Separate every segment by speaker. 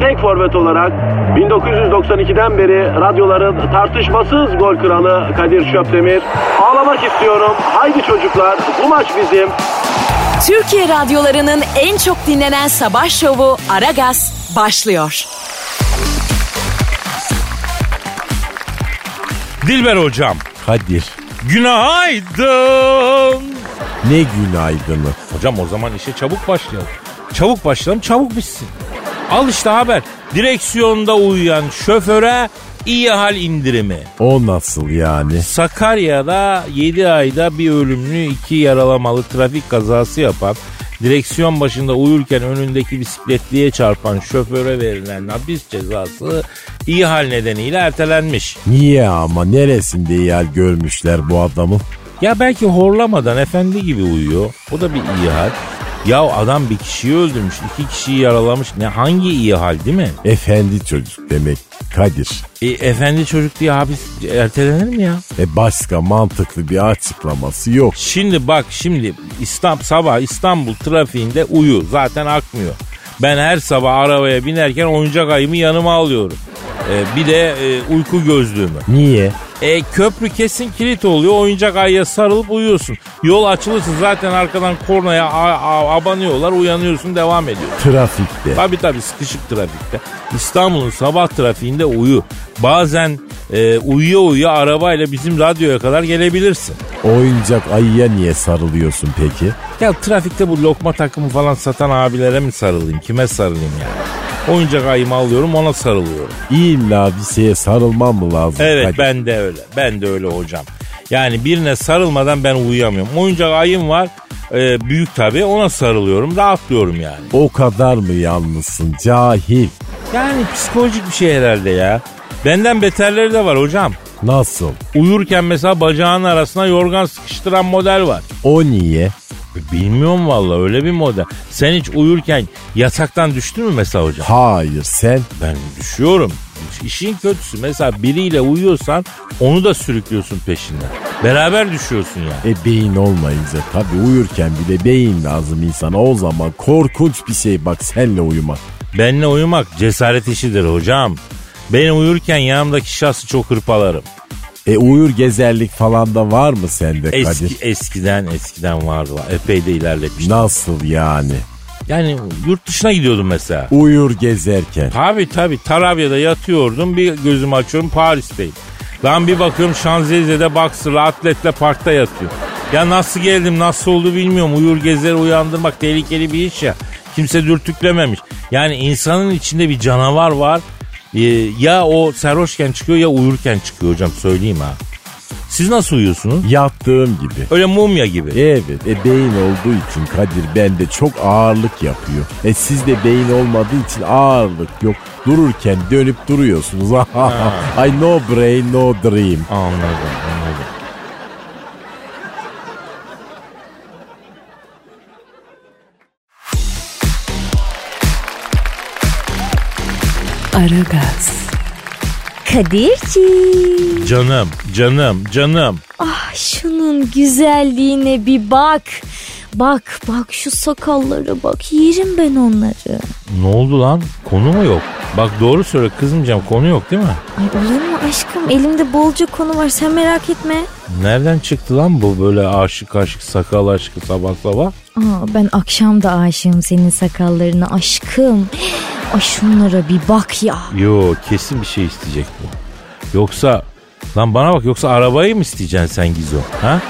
Speaker 1: tek forvet olarak 1992'den beri radyoların tartışmasız gol kralı Kadir Şöpdemir. Ağlamak istiyorum. Haydi çocuklar bu maç bizim.
Speaker 2: Türkiye radyolarının en çok dinlenen sabah şovu Aragaz başlıyor.
Speaker 3: Dilber hocam.
Speaker 4: Kadir
Speaker 3: Günaydın.
Speaker 4: ne günaydını.
Speaker 3: Hocam o zaman işe çabuk başlayalım. Çabuk başlayalım çabuk bitsin. Al işte haber. Direksiyonda uyuyan şoföre iyi hal indirimi.
Speaker 4: O nasıl yani?
Speaker 3: Sakarya'da 7 ayda bir ölümlü iki yaralamalı trafik kazası yapan direksiyon başında uyurken önündeki bisikletliye çarpan şoföre verilen hapis cezası iyi hal nedeniyle ertelenmiş.
Speaker 4: Niye ama neresinde yer görmüşler bu adamı?
Speaker 3: Ya belki horlamadan efendi gibi uyuyor. O da bir iyi hal. Ya adam bir kişiyi öldürmüş, iki kişiyi yaralamış. Ne hangi iyi hal değil mi?
Speaker 4: Efendi çocuk demek Kadir.
Speaker 3: E, efendi çocuk diye hapis ertelenir mi ya?
Speaker 4: E başka mantıklı bir açıklaması yok.
Speaker 3: Şimdi bak şimdi İstam sabah İstanbul trafiğinde uyu zaten akmıyor. Ben her sabah arabaya binerken oyuncak ayımı yanıma alıyorum. E, bir de e, uyku gözlüğümü.
Speaker 4: Niye?
Speaker 3: E köprü kesin kilit oluyor. Oyuncak ayıya sarılıp uyuyorsun. Yol açılırsa zaten arkadan kornaya a- a- abanıyorlar. Uyanıyorsun devam ediyor.
Speaker 4: Trafikte.
Speaker 3: Tabi tabi sıkışık trafikte. İstanbul'un sabah trafiğinde uyu. Bazen e, uyuya uyuya arabayla bizim radyoya kadar gelebilirsin.
Speaker 4: Oyuncak ayıya niye sarılıyorsun peki?
Speaker 3: Ya trafikte bu lokma takımı falan satan abilere mi sarılayım? Kime sarılayım yani? Oyuncak ayımı alıyorum ona sarılıyorum.
Speaker 4: İlla bir şeye sarılmam mı lazım?
Speaker 3: Evet
Speaker 4: Kadir?
Speaker 3: ben de öyle. Ben de öyle hocam. Yani birine sarılmadan ben uyuyamıyorum. Oyuncak ayım var. e, büyük tabii ona sarılıyorum. Rahatlıyorum yani.
Speaker 4: O kadar mı yalnızsın cahil?
Speaker 3: Yani psikolojik bir şey herhalde ya. Benden beterleri de var hocam.
Speaker 4: Nasıl?
Speaker 3: Uyurken mesela bacağının arasına yorgan sıkıştıran model var.
Speaker 4: O niye?
Speaker 3: E, Bilmiyorum valla öyle bir model. Sen hiç uyurken yataktan düştün mü mesela hocam?
Speaker 4: Hayır sen.
Speaker 3: Ben düşüyorum. İşin kötüsü mesela biriyle uyuyorsan onu da sürüklüyorsun peşinden. Beraber düşüyorsun yani.
Speaker 4: E beyin olmayınca tabii uyurken bile beyin lazım insana. O zaman korkunç bir şey bak senle uyumak.
Speaker 3: Benle uyumak cesaret işidir hocam. Ben uyurken yanımdaki şahsı çok hırpalarım.
Speaker 4: E uyur gezerlik falan da var mı sende
Speaker 3: Eski,
Speaker 4: Kadir?
Speaker 3: eskiden eskiden vardı. Epey de ilerlemiş.
Speaker 4: Nasıl yani?
Speaker 3: Yani yurt dışına gidiyordum mesela.
Speaker 4: Uyur gezerken.
Speaker 3: Tabi tabi Tarabya'da yatıyordum bir gözümü açıyorum Paris'teyim. Lan bir bakıyorum Şanzelize'de Boxer'la atletle parkta yatıyor. Ya nasıl geldim nasıl oldu bilmiyorum. Uyur gezer uyandırmak tehlikeli bir iş ya. Kimse dürtüklememiş. Yani insanın içinde bir canavar var. Ee, ya o sarhoşken çıkıyor ya uyurken çıkıyor hocam söyleyeyim ha. Siz nasıl uyuyorsunuz?
Speaker 4: Yattığım gibi.
Speaker 3: Öyle mumya gibi.
Speaker 4: Evet e beyin olduğu için Kadir bende çok ağırlık yapıyor. E sizde beyin olmadığı için ağırlık yok. Dururken dönüp duruyorsunuz. Ay no brain no dream.
Speaker 3: Anladım anladım.
Speaker 5: Aragaz. Kadirciğim.
Speaker 3: Canım canım canım.
Speaker 5: Ah şunun güzelliğine bir bak. Bak bak şu sakallara bak. Yerim ben onları.
Speaker 3: Ne oldu lan? Konu mu yok? Bak doğru söyle kızmayacağım konu yok değil mi?
Speaker 5: Ay olur mu aşkım? Elimde bolca konu var sen merak etme.
Speaker 3: Nereden çıktı lan bu böyle aşık aşık sakal aşkı sabah sabah?
Speaker 5: Aa, ben akşam da aşığım senin sakallarına aşkım. Ay şunlara bir bak ya.
Speaker 3: Yo kesin bir şey isteyecek bu. Yoksa lan bana bak yoksa arabayı mı isteyeceksin sen Gizo? Ha?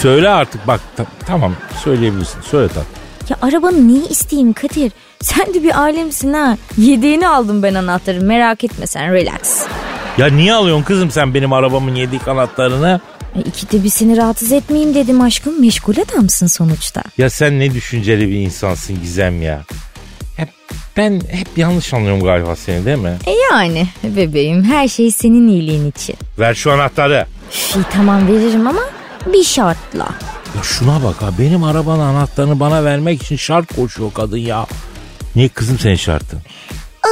Speaker 3: Söyle artık bak ta- tamam söyleyebilirsin söyle tat.
Speaker 5: Ya arabanı niye isteyeyim Kadir? Sen de bir alemsin ha. Yediğini aldım ben anahtarı merak etme sen relax.
Speaker 3: Ya niye alıyorsun kızım sen benim arabamın yedi kanatlarını?
Speaker 6: E, ikide bir seni rahatsız etmeyeyim dedim aşkım. Meşgul adamsın sonuçta.
Speaker 3: Ya sen ne düşünceli bir insansın Gizem ya. Hep, ben hep yanlış anlıyorum galiba seni değil mi?
Speaker 6: E yani bebeğim her şey senin iyiliğin için.
Speaker 3: Ver şu anahtarı.
Speaker 6: Üf, iyi, tamam veririm ama bir şartla.
Speaker 3: Ya şuna bak ha benim arabanın anahtarını bana vermek için şart koşuyor kadın ya. Niye kızım senin şartın?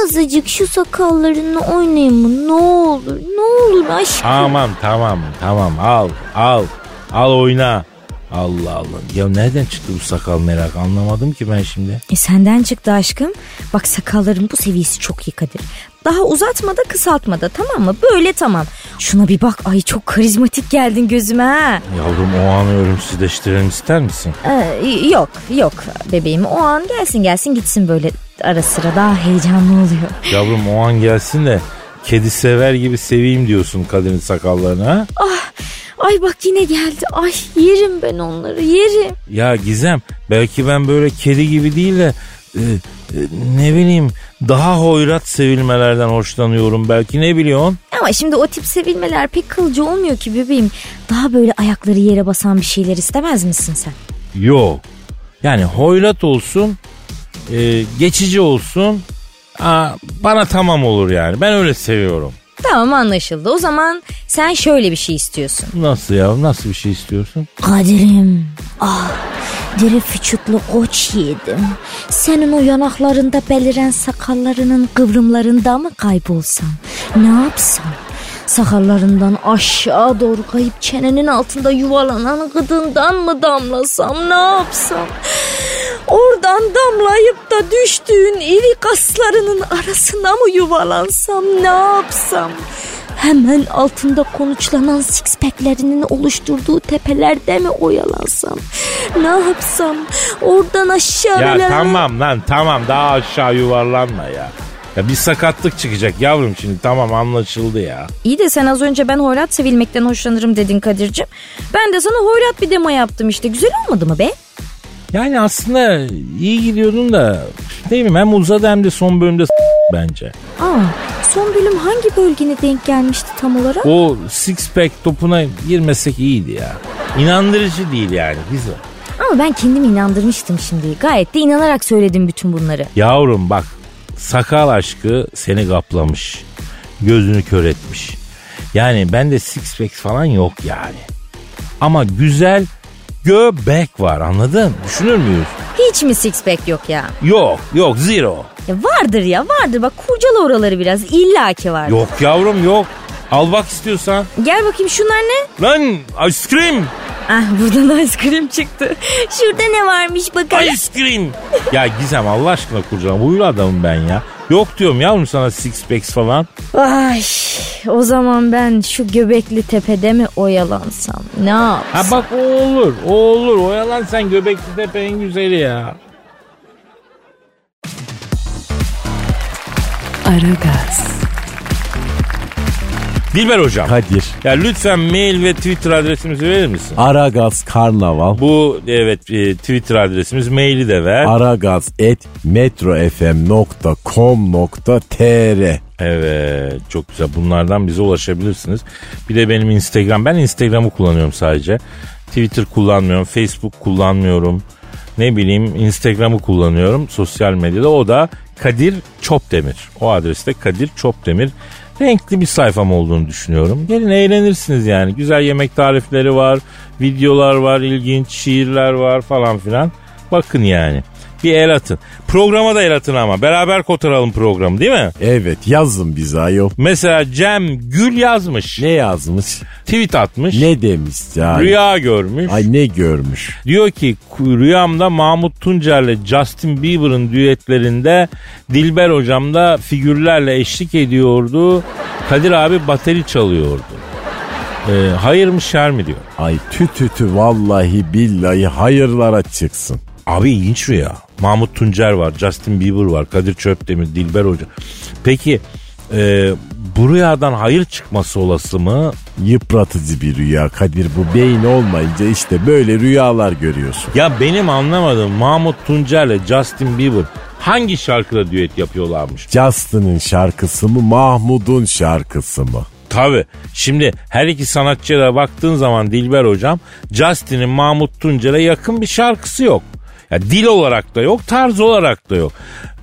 Speaker 6: Azıcık şu sakallarını oynayın mı? Ne olur, ne olur aşkım.
Speaker 3: Tamam tamam tamam al al al oyna. Allah Allah. Ya nereden çıktı bu sakal merak anlamadım ki ben şimdi.
Speaker 6: E senden çıktı aşkım. Bak sakalların bu seviyesi çok iyi Kadir. Daha uzatma da kısaltma da tamam mı? Böyle tamam. Şuna bir bak. Ay çok karizmatik geldin gözüme ha.
Speaker 3: Yavrum o anı ölümsüzleştirelim ister misin?
Speaker 6: Ee, yok yok bebeğim o an gelsin gelsin gitsin böyle ara sıra daha heyecanlı oluyor.
Speaker 3: Yavrum o an gelsin de kedi sever gibi seveyim diyorsun kadının sakallarını ha?
Speaker 6: Ah, Ay bak yine geldi. Ay yerim ben onları yerim.
Speaker 3: Ya Gizem belki ben böyle kedi gibi değil de e, e, ne bileyim daha hoyrat sevilmelerden hoşlanıyorum belki ne biliyorsun?
Speaker 6: Ama şimdi o tip sevilmeler pek kılcı olmuyor ki bebeğim. Daha böyle ayakları yere basan bir şeyler istemez misin sen?
Speaker 3: Yok. Yani hoyrat olsun, e, geçici olsun. Aa, bana tamam olur yani. Ben öyle seviyorum.
Speaker 6: Tamam anlaşıldı. O zaman sen şöyle bir şey istiyorsun.
Speaker 3: Nasıl ya? Nasıl bir şey istiyorsun?
Speaker 6: Kadir'im. Ah diri vücutlu koç yedim. Senin o yanaklarında beliren sakallarının kıvrımlarında mı kaybolsam? Ne yapsam? Sakallarından aşağı doğru kayıp çenenin altında yuvalanan gıdından mı damlasam ne yapsam? Oradan damlayıp da düştüğün iri kaslarının arasına mı yuvalansam ne yapsam? Hemen altında konuşlanan sixpacklerinin oluşturduğu tepelerde mi oyalansam? Ne yapsam? Oradan aşağı
Speaker 3: Ya
Speaker 6: böyle-
Speaker 3: tamam lan tamam daha aşağı yuvarlanma ya. Ya bir sakatlık çıkacak yavrum şimdi tamam anlaşıldı ya.
Speaker 6: İyi de sen az önce ben hoyrat sevilmekten hoşlanırım dedin Kadir'cim. Ben de sana hoyrat bir demo yaptım işte. Güzel olmadı mı be?
Speaker 3: Yani aslında iyi gidiyordun da değil mi hem uzadı hem de son bölümde s- bence.
Speaker 6: Aa, son bölüm hangi bölgene denk gelmişti tam olarak?
Speaker 3: O six pack topuna girmesek iyiydi ya. İnandırıcı değil yani güzel.
Speaker 6: Ama ben kendimi inandırmıştım şimdi. Gayet de inanarak söyledim bütün bunları.
Speaker 3: Yavrum bak sakal aşkı seni kaplamış. Gözünü kör etmiş. Yani bende six pack falan yok yani. Ama güzel göbek var anladın? Düşünür müyüz?
Speaker 6: Hiç mi six pack yok ya?
Speaker 3: Yok yok zero.
Speaker 6: ya? Vardır ya vardır bak kurcala oraları biraz illaki var.
Speaker 3: Yok yavrum yok. Al bak istiyorsan.
Speaker 6: Gel bakayım şunlar ne?
Speaker 3: Lan ice cream.
Speaker 6: Ah buradan ice cream çıktı. Şurada ne varmış bakalım.
Speaker 3: Ice cream. ya Gizem Allah aşkına kurcalama. Buyur adamım ben ya. Yok diyorum yavrum sana six packs falan.
Speaker 6: Ay o zaman ben şu göbekli tepede mi oyalansam? Ne yapsam?
Speaker 3: Ha bak o olur. O olur. O yalan sen göbekli tepe en güzeli ya.
Speaker 2: Aragaz,
Speaker 3: Dilber hocam.
Speaker 4: Kadir.
Speaker 3: Ya lütfen mail ve Twitter adresimizi verir misin?
Speaker 4: Aragaz Karnaval.
Speaker 3: Bu evet e, Twitter adresimiz maili de ver.
Speaker 4: Aragaz et metrofm.com.tr
Speaker 3: evet çok güzel bunlardan bize ulaşabilirsiniz. Bir de benim Instagram ben Instagram'ı kullanıyorum sadece. Twitter kullanmıyorum Facebook kullanmıyorum. Ne bileyim Instagram'ı kullanıyorum sosyal medyada o da Kadir Çopdemir. O adreste Kadir Çopdemir. Renkli bir sayfam olduğunu düşünüyorum. Gelin eğlenirsiniz yani. Güzel yemek tarifleri var, videolar var, ilginç şiirler var falan filan. Bakın yani. Bir el atın. Programa da el atın ama. Beraber kotaralım programı değil mi?
Speaker 4: Evet yazın bize ayol.
Speaker 3: Mesela Cem Gül yazmış.
Speaker 4: Ne yazmış?
Speaker 3: Tweet atmış.
Speaker 4: Ne demiş ya?
Speaker 3: Rüya görmüş.
Speaker 4: Ay ne görmüş?
Speaker 3: Diyor ki "Ku- rüyamda Mahmut Tuncer'le Justin Bieber'ın düetlerinde Dilber hocam da figürlerle eşlik ediyordu. Kadir abi bateri çalıyordu. Ee, hayır mı şer mi diyor.
Speaker 4: Ay tü tü tü vallahi billahi hayırlara çıksın.
Speaker 3: Abi ilginç rüya. Mahmut Tuncer var, Justin Bieber var, Kadir Çöpdemir, Dilber Hoca. Peki e, bu rüyadan hayır çıkması olası mı?
Speaker 4: Yıpratıcı bir rüya Kadir bu beyin olmayınca işte böyle rüyalar görüyorsun.
Speaker 3: Ya benim anlamadığım Mahmut Tuncer'le Justin Bieber hangi şarkıda düet yapıyorlarmış?
Speaker 4: Justin'ın şarkısı mı Mahmud'un şarkısı mı?
Speaker 3: Tabii. Şimdi her iki sanatçıya da baktığın zaman Dilber hocam Justin'in Mahmut Tuncer'e yakın bir şarkısı yok. Ya dil olarak da yok, tarz olarak da yok.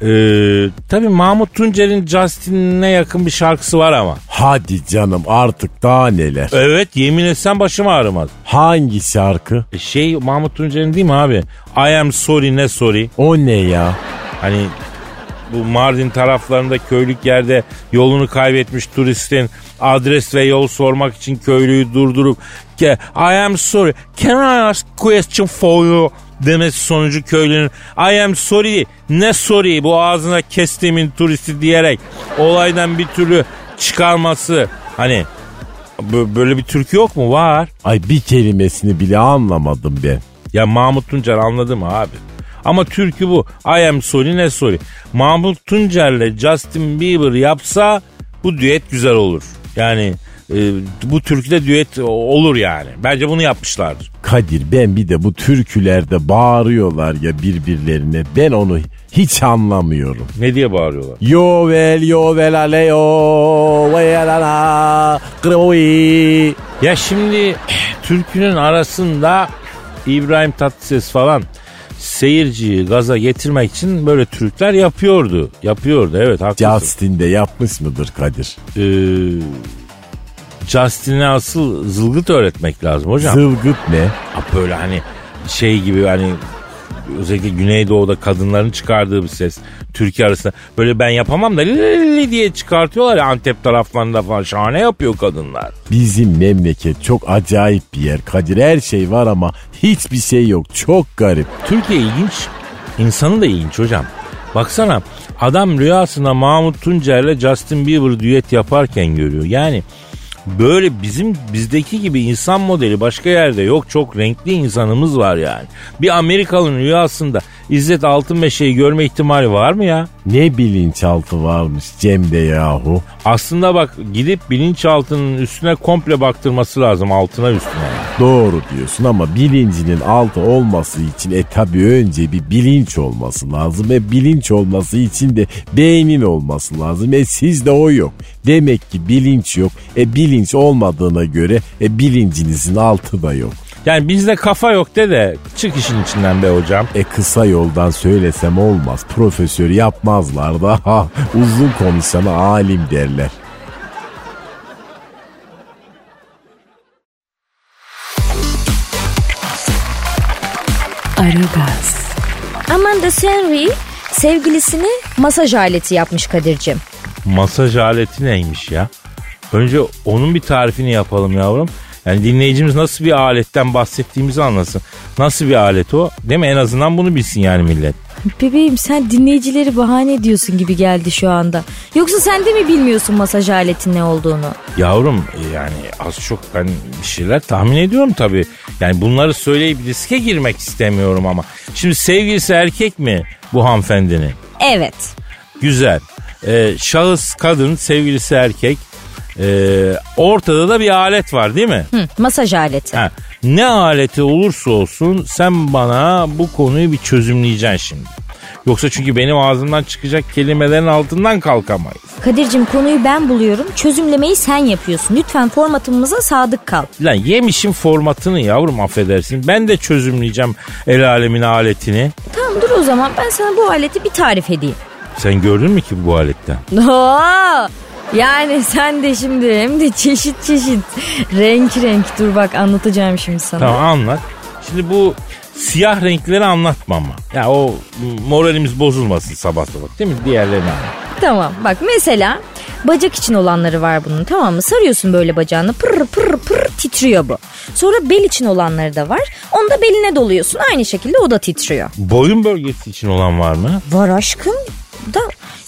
Speaker 3: Ee, tabii Mahmut Tuncer'in Justin'ine yakın bir şarkısı var ama.
Speaker 4: Hadi canım artık daha neler.
Speaker 3: Evet yemin etsem başım ağrımaz.
Speaker 4: Hangi şarkı?
Speaker 3: E Şey Mahmut Tuncer'in değil mi abi? I am sorry ne sorry.
Speaker 4: O ne ya?
Speaker 3: Hani bu Mardin taraflarında köylük yerde yolunu kaybetmiş turistin adres ve yol sormak için köylüyü durdurup "Ke- I am sorry can I ask question for you demesi sonucu köylünün I am sorry ne sorry bu ağzına kestiğimin turisti diyerek olaydan bir türlü çıkarması hani bö- böyle bir türkü yok mu var
Speaker 4: Ay bir kelimesini bile anlamadım ben.
Speaker 3: ya Mahmut Tuncer anladı mı abi? Ama türkü bu. I am sorry ne sorry. Mahmut Tuncer'le Justin Bieber yapsa bu düet güzel olur. Yani e, bu türküde düet o- olur yani. Bence bunu yapmışlardır.
Speaker 4: Kadir ben bir de bu türkülerde bağırıyorlar ya birbirlerine. Ben onu hiç anlamıyorum.
Speaker 3: Ne diye bağırıyorlar?
Speaker 4: Yovel yovel aleyo veyalala kırovi.
Speaker 3: Ya şimdi türkünün arasında İbrahim Tatlıses falan seyirciyi gaza getirmek için böyle türkler yapıyordu. Yapıyordu evet haklısın.
Speaker 4: Justin de yapmış mıdır Kadir?
Speaker 3: Ee, Justin'e asıl zılgıt öğretmek lazım hocam.
Speaker 4: Zılgıt ne?
Speaker 3: Ha böyle hani şey gibi hani özellikle Güneydoğu'da kadınların çıkardığı bir ses. Türkiye arasında böyle ben yapamam da li diye çıkartıyorlar ya Antep taraflarında falan şahane yapıyor kadınlar.
Speaker 4: Bizim memleket çok acayip bir yer Kadir. Her şey var ama hiçbir şey yok. Çok garip.
Speaker 3: Türkiye ilginç. insanı da ilginç hocam. Baksana adam rüyasında Mahmut Tuncer'le Justin Bieber düet yaparken görüyor. Yani böyle bizim bizdeki gibi insan modeli başka yerde yok. Çok renkli insanımız var yani. Bir Amerikalı'nın rüyasında İzzet Altınmeşe'yi görme ihtimali var mı ya?
Speaker 4: Ne bilinçaltı varmış Cem'de yahu.
Speaker 3: Aslında bak gidip bilinçaltının üstüne komple baktırması lazım altına üstüne.
Speaker 4: Doğru diyorsun ama bilincinin altı olması için e tabi önce bir bilinç olması lazım. E bilinç olması için de beynin olması lazım. E sizde o yok. Demek ki bilinç yok. E bilinç olmadığına göre e bilincinizin altı da yok.
Speaker 3: Yani bizde kafa yok de de çık işin içinden be hocam.
Speaker 4: E kısa yoldan söylesem olmaz. Profesör yapmazlar da ha, uzun konuşana alim derler.
Speaker 2: Aragaz,
Speaker 5: Amanda Seyfried sevgilisini masaj aleti yapmış Kadir'cim.
Speaker 3: Masaj aleti neymiş ya? Önce onun bir tarifini yapalım yavrum. Yani dinleyicimiz nasıl bir aletten bahsettiğimizi anlasın. Nasıl bir alet o? Değil mi? En azından bunu bilsin yani millet.
Speaker 6: Bebeğim sen dinleyicileri bahane ediyorsun gibi geldi şu anda. Yoksa sen de mi bilmiyorsun masaj aletinin ne olduğunu?
Speaker 3: Yavrum e, yani az çok ben bir şeyler tahmin ediyorum tabii. Yani bunları söyleyip riske girmek istemiyorum ama. Şimdi sevgilisi erkek mi bu hanımefendinin?
Speaker 6: Evet.
Speaker 3: Güzel. Ee, şahıs kadın, sevgilisi erkek. Ee, ortada da bir alet var değil mi?
Speaker 6: Hı, masaj aleti.
Speaker 3: Ha, ne aleti olursa olsun sen bana bu konuyu bir çözümleyeceksin şimdi. Yoksa çünkü benim ağzımdan çıkacak kelimelerin altından kalkamayız.
Speaker 6: Kadir'cim konuyu ben buluyorum. Çözümlemeyi sen yapıyorsun. Lütfen formatımıza sadık kal.
Speaker 3: Lan yemişin formatını yavrum affedersin. Ben de çözümleyeceğim el alemin aletini.
Speaker 6: Tamam dur o zaman ben sana bu aleti bir tarif edeyim.
Speaker 3: Sen gördün mü ki bu aletten?
Speaker 6: Oo! Yani sen de şimdi hem de çeşit çeşit renk renk dur bak anlatacağım şimdi sana.
Speaker 3: Tamam anlat. Şimdi bu siyah renkleri anlatma ama. Ya o moralimiz bozulmasın sabah sabah değil mi? Diğerlerini anlat.
Speaker 6: Tamam bak mesela bacak için olanları var bunun tamam mı? Sarıyorsun böyle bacağını pır pır pır titriyor bu. Sonra bel için olanları da var. Onu da beline doluyorsun aynı şekilde o da titriyor.
Speaker 3: Boyun bölgesi için olan var mı?
Speaker 6: Var aşkım da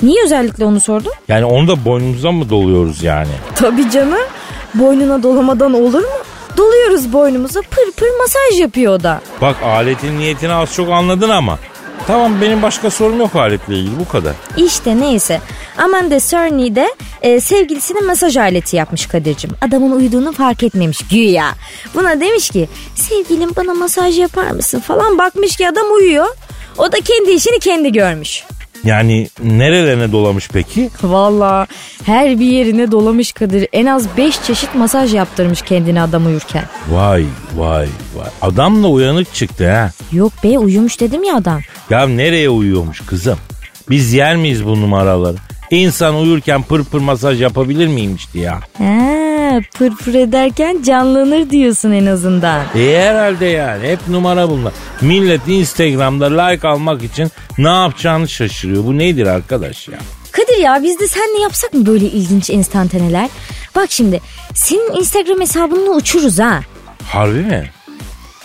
Speaker 6: niye özellikle onu sordun?
Speaker 3: Yani onu da boynumuza mı doluyoruz yani?
Speaker 6: Tabii canım boynuna dolamadan olur mu? Doluyoruz boynumuza pır pır masaj yapıyor o da.
Speaker 3: Bak aletin niyetini az çok anladın ama. Tamam benim başka sorum yok aletle ilgili bu kadar.
Speaker 6: İşte neyse. Amanda Cerny de e, sevgilisine masaj aleti yapmış Kadir'cim. Adamın uyuduğunu fark etmemiş güya. Buna demiş ki sevgilim bana masaj yapar mısın falan bakmış ki adam uyuyor. O da kendi işini kendi görmüş.
Speaker 3: Yani nerelerine dolamış peki?
Speaker 6: Valla her bir yerine dolamış Kadir. En az 5 çeşit masaj yaptırmış kendine adam uyurken.
Speaker 3: Vay vay vay. Adam da uyanık çıktı ha.
Speaker 6: Yok be uyumuş dedim ya adam.
Speaker 3: Ya nereye uyuyormuş kızım? Biz yer miyiz bu numaraları? İnsan uyurken pır pır masaj yapabilir miymişti ya?
Speaker 6: Ha, pırpır ederken canlanır diyorsun en azından.
Speaker 3: E herhalde yani hep numara bunlar. Millet Instagram'da like almak için ne yapacağını şaşırıyor. Bu nedir arkadaş ya?
Speaker 6: Kadir ya biz de senle yapsak mı böyle ilginç enstantaneler? Bak şimdi senin Instagram hesabını uçuruz ha.
Speaker 3: Harbi mi?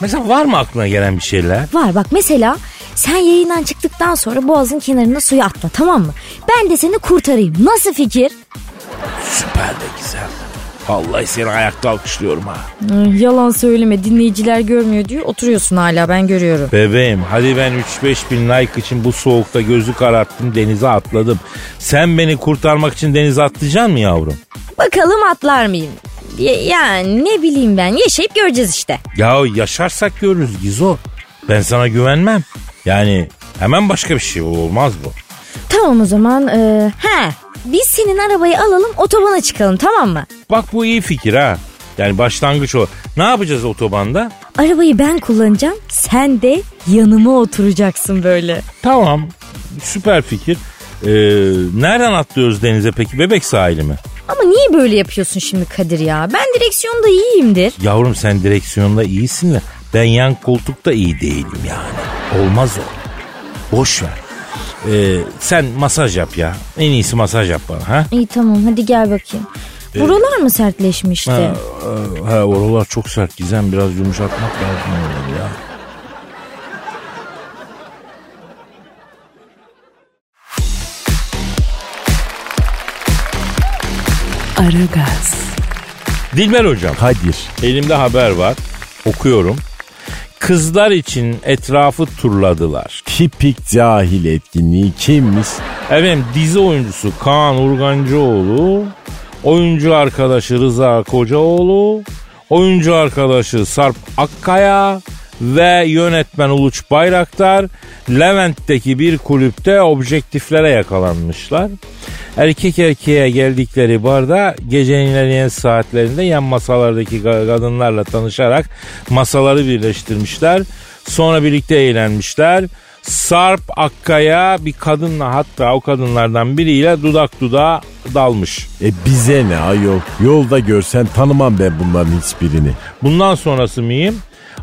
Speaker 3: Mesela var mı aklına gelen bir şeyler?
Speaker 6: Var bak mesela sen yayından çıktıktan sonra boğazın kenarına suya atla tamam mı? Ben de seni kurtarayım. Nasıl fikir?
Speaker 3: Süper de güzel. Vallahi seni ayakta alkışlıyorum ha.
Speaker 6: Yalan söyleme dinleyiciler görmüyor diyor. Oturuyorsun hala ben görüyorum.
Speaker 3: Bebeğim hadi ben 3-5 bin like için bu soğukta gözü kararttım denize atladım. Sen beni kurtarmak için denize atlayacaksın mı yavrum?
Speaker 6: Bakalım atlar mıyım? Ya- Yani ne bileyim ben yaşayıp göreceğiz işte.
Speaker 3: Ya yaşarsak görürüz Gizo. Ben sana güvenmem. Yani hemen başka bir şey olmaz bu.
Speaker 6: Tamam o zaman. ee, he, biz senin arabayı alalım otobana çıkalım tamam mı?
Speaker 3: Bak bu iyi fikir ha. Yani başlangıç o. Ne yapacağız otobanda?
Speaker 6: Arabayı ben kullanacağım sen de yanıma oturacaksın böyle.
Speaker 3: Tamam süper fikir. Ee, nereden atlıyoruz denize peki? Bebek sahili mi?
Speaker 6: Ama niye böyle yapıyorsun şimdi Kadir ya? Ben direksiyonda iyiyimdir.
Speaker 3: Yavrum sen direksiyonda iyisin de ben yan koltukta iyi değilim yani. Olmaz o. Boş ver. Ee, sen masaj yap ya. En iyisi masaj yap bana ha.
Speaker 6: İyi tamam hadi gel bakayım. Buralar mı sertleşmişti?
Speaker 3: Ha, e, ha, oralar çok sert gizem biraz yumuşatmak lazım oraları ya.
Speaker 2: Aragaz,
Speaker 3: Dilber hocam
Speaker 4: Kadir.
Speaker 3: elimde haber var okuyorum. Kızlar için etrafı turladılar.
Speaker 4: Tipik cahil etkinliği kimmiş?
Speaker 3: Efendim dizi oyuncusu Kaan Urgancıoğlu, oyuncu arkadaşı Rıza Kocaoğlu, oyuncu arkadaşı Sarp Akkaya ve yönetmen Uluç Bayraktar Levent'teki bir kulüpte objektiflere yakalanmışlar. Erkek erkeğe geldikleri barda gecenin ilerleyen saatlerinde yan masalardaki ga- kadınlarla tanışarak masaları birleştirmişler. Sonra birlikte eğlenmişler. Sarp Akkaya bir kadınla hatta o kadınlardan biriyle dudak dudağa dalmış.
Speaker 4: E bize ne ayol? Yolda görsen tanımam ben bunların hiçbirini.
Speaker 3: Bundan sonrası miyim?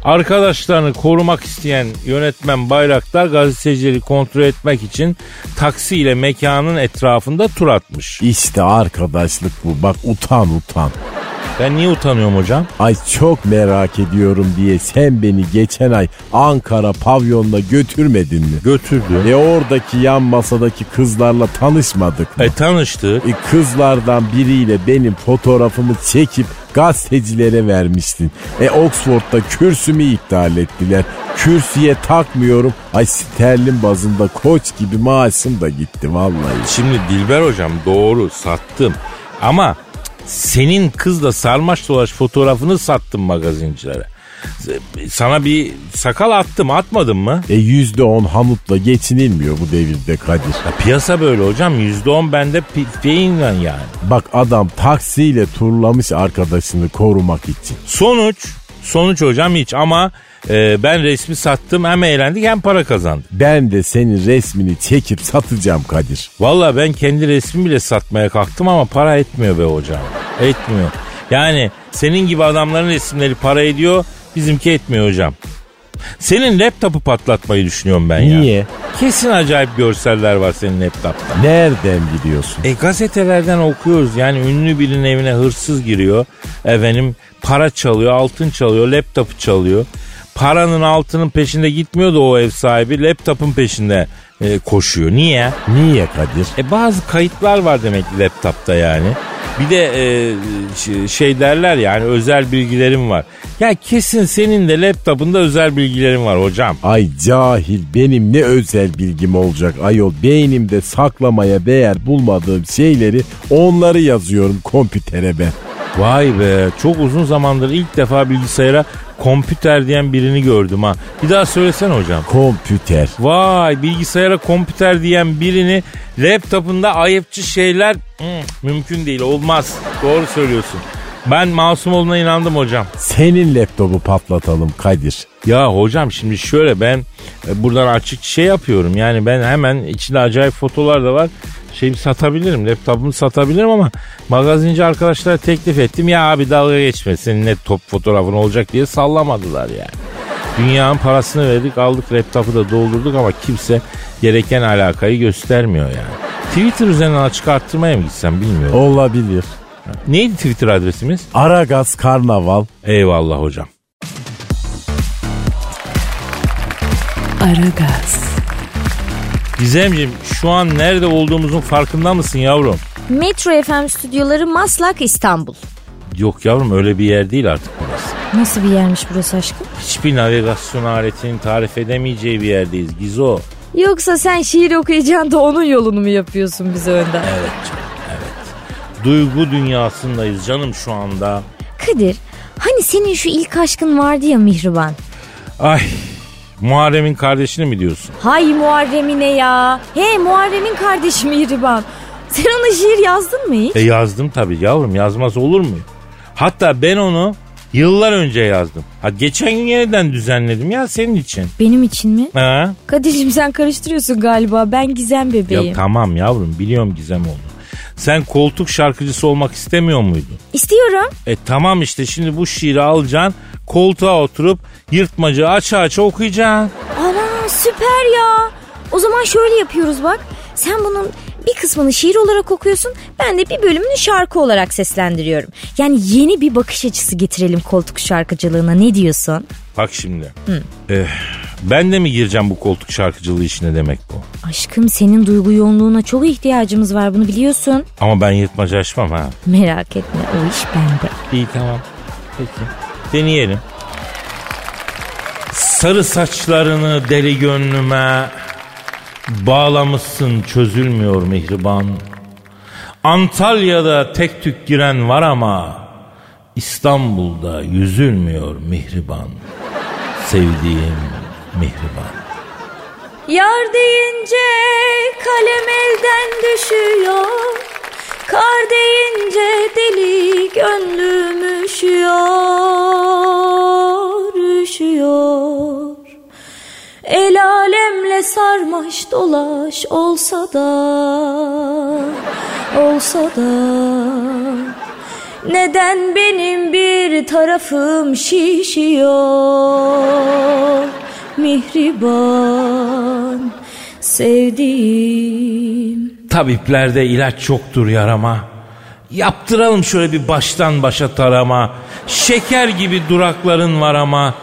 Speaker 3: Arkadaşlarını korumak isteyen yönetmen Bayraktar gazetecileri kontrol etmek için taksiyle mekanın etrafında tur atmış.
Speaker 4: İşte arkadaşlık bu. Bak utan utan.
Speaker 3: Ben niye utanıyorum hocam?
Speaker 4: Ay çok merak ediyorum diye sen beni geçen ay Ankara pavyonuna götürmedin mi?
Speaker 3: Götürdü.
Speaker 4: E oradaki yan masadaki kızlarla tanışmadık mı?
Speaker 3: E tanıştık.
Speaker 4: E kızlardan biriyle benim fotoğrafımı çekip gazetecilere vermiştin. E Oxford'da kürsümü iptal ettiler. Kürsüye takmıyorum. Ay sterlin bazında koç gibi maaşım da gitti vallahi.
Speaker 3: Şimdi Dilber hocam doğru sattım. Ama senin kızla sarmaş dolaş fotoğrafını sattım magazincilere. Sana bir sakal attım atmadım mı?
Speaker 4: E yüzde on hamutla geçinilmiyor bu devirde Kadir.
Speaker 3: Piyasa böyle hocam. Yüzde on bende pi- feyinle yani.
Speaker 4: Bak adam taksiyle turlamış arkadaşını korumak için.
Speaker 3: Sonuç. Sonuç hocam hiç ama e, ben resmi sattım hem eğlendik hem para kazandım.
Speaker 4: Ben de senin resmini çekip satacağım Kadir.
Speaker 3: Valla ben kendi resmi bile satmaya kalktım ama para etmiyor be hocam. Etmiyor. Yani senin gibi adamların resimleri para ediyor bizimki etmiyor hocam. Senin laptopu patlatmayı düşünüyorum ben ya.
Speaker 4: Niye?
Speaker 3: Kesin acayip görseller var senin laptopta.
Speaker 4: Nereden biliyorsun?
Speaker 3: E gazetelerden okuyoruz yani ünlü birinin evine hırsız giriyor. Efendim para çalıyor, altın çalıyor, laptopu çalıyor. Paranın altının peşinde gitmiyor da o ev sahibi laptopun peşinde e, koşuyor. Niye?
Speaker 4: Niye Kadir?
Speaker 3: E bazı kayıtlar var demek ki laptopta yani. Bir de e, ş- şey derler yani özel bilgilerim var. Ya kesin senin de laptopunda özel bilgilerin var hocam.
Speaker 4: Ay cahil benim ne özel bilgim olacak ayol. Beynimde saklamaya değer bulmadığım şeyleri onları yazıyorum kompütere ben.
Speaker 3: Vay be çok uzun zamandır ilk defa bilgisayara kompüter diyen birini gördüm ha. Bir daha söylesene hocam.
Speaker 4: Kompüter.
Speaker 3: Vay bilgisayara kompüter diyen birini laptopunda ayıpçı şeyler hmm, mümkün değil olmaz. Doğru söylüyorsun. Ben masum olduğuna inandım hocam.
Speaker 4: Senin laptopu patlatalım Kadir.
Speaker 3: Ya hocam şimdi şöyle ben e, buradan açık şey yapıyorum. Yani ben hemen içinde acayip fotolar da var. Şeyimi satabilirim, laptopumu satabilirim ama magazinci arkadaşlara teklif ettim. Ya abi dalga geçme senin net top fotoğrafın olacak diye sallamadılar yani. Dünyanın parasını verdik aldık laptopu da doldurduk ama kimse gereken alakayı göstermiyor yani. Twitter üzerinden açık arttırmaya mı gitsem bilmiyorum.
Speaker 4: Olabilir.
Speaker 3: Neydi Twitter adresimiz?
Speaker 4: Aragaz Karnaval.
Speaker 3: Eyvallah hocam.
Speaker 2: Aragaz,
Speaker 3: Gizemciğim şu an nerede olduğumuzun farkında mısın yavrum?
Speaker 6: Metro FM stüdyoları Maslak İstanbul.
Speaker 3: Yok yavrum öyle bir yer değil artık burası.
Speaker 6: Nasıl bir yermiş burası aşkım?
Speaker 3: Hiçbir navigasyon aletinin tarif edemeyeceği bir yerdeyiz Gizo.
Speaker 6: Yoksa sen şiir okuyacaksın da onun yolunu mu yapıyorsun bize önden?
Speaker 3: Evet canım evet. Duygu dünyasındayız canım şu anda.
Speaker 6: Kadir
Speaker 5: Hani senin şu ilk aşkın vardı ya Mihriban.
Speaker 3: Ay Muharrem'in kardeşini mi diyorsun?
Speaker 6: hay Muharrem'ine ya. Hey Muharrem'in kardeşi Mihriban. Sen ona şiir yazdın mı hiç?
Speaker 3: E yazdım tabii yavrum yazmaz olur mu? Hatta ben onu yıllar önce yazdım. Ha geçen gün yeniden düzenledim ya senin için.
Speaker 6: Benim için mi?
Speaker 3: Ha?
Speaker 6: Kadir'cim sen karıştırıyorsun galiba. Ben Gizem bebeğim.
Speaker 3: Ya tamam yavrum biliyorum Gizem oldu. Sen koltuk şarkıcısı olmak istemiyor muydun?
Speaker 6: İstiyorum.
Speaker 3: E tamam işte şimdi bu şiiri alacaksın, koltuğa oturup yırtmacı aça aça okuyacaksın.
Speaker 6: Ana süper ya. O zaman şöyle yapıyoruz bak. Sen bunun bir kısmını şiir olarak okuyorsun. Ben de bir bölümünü şarkı olarak seslendiriyorum. Yani yeni bir bakış açısı getirelim koltuk şarkıcılığına. Ne diyorsun?
Speaker 3: Bak şimdi. Eh, ben de mi gireceğim bu koltuk şarkıcılığı işine demek bu?
Speaker 6: Aşkım senin duygu yoğunluğuna çok ihtiyacımız var bunu biliyorsun.
Speaker 3: Ama ben yırtmacı açmam ha.
Speaker 6: Merak etme o iş bende.
Speaker 3: İyi tamam. Peki. Deneyelim. Sarı saçlarını deli gönlüme bağlamışsın çözülmüyor mihriban. Antalya'da tek tük giren var ama İstanbul'da yüzülmüyor mihriban. Sevdiğim mihriban.
Speaker 6: Yar deyince kalem elden düşüyor. Kar deyince deli gönlüm üşüyor, üşüyor. El alemle sarmaş dolaş olsa da, olsa da. Neden benim bir tarafım şişiyor? Mihriban sevdiğim.
Speaker 3: Tabiplerde ilaç yoktur yarama. Yaptıralım şöyle bir baştan başa tarama. Şeker gibi durakların var ama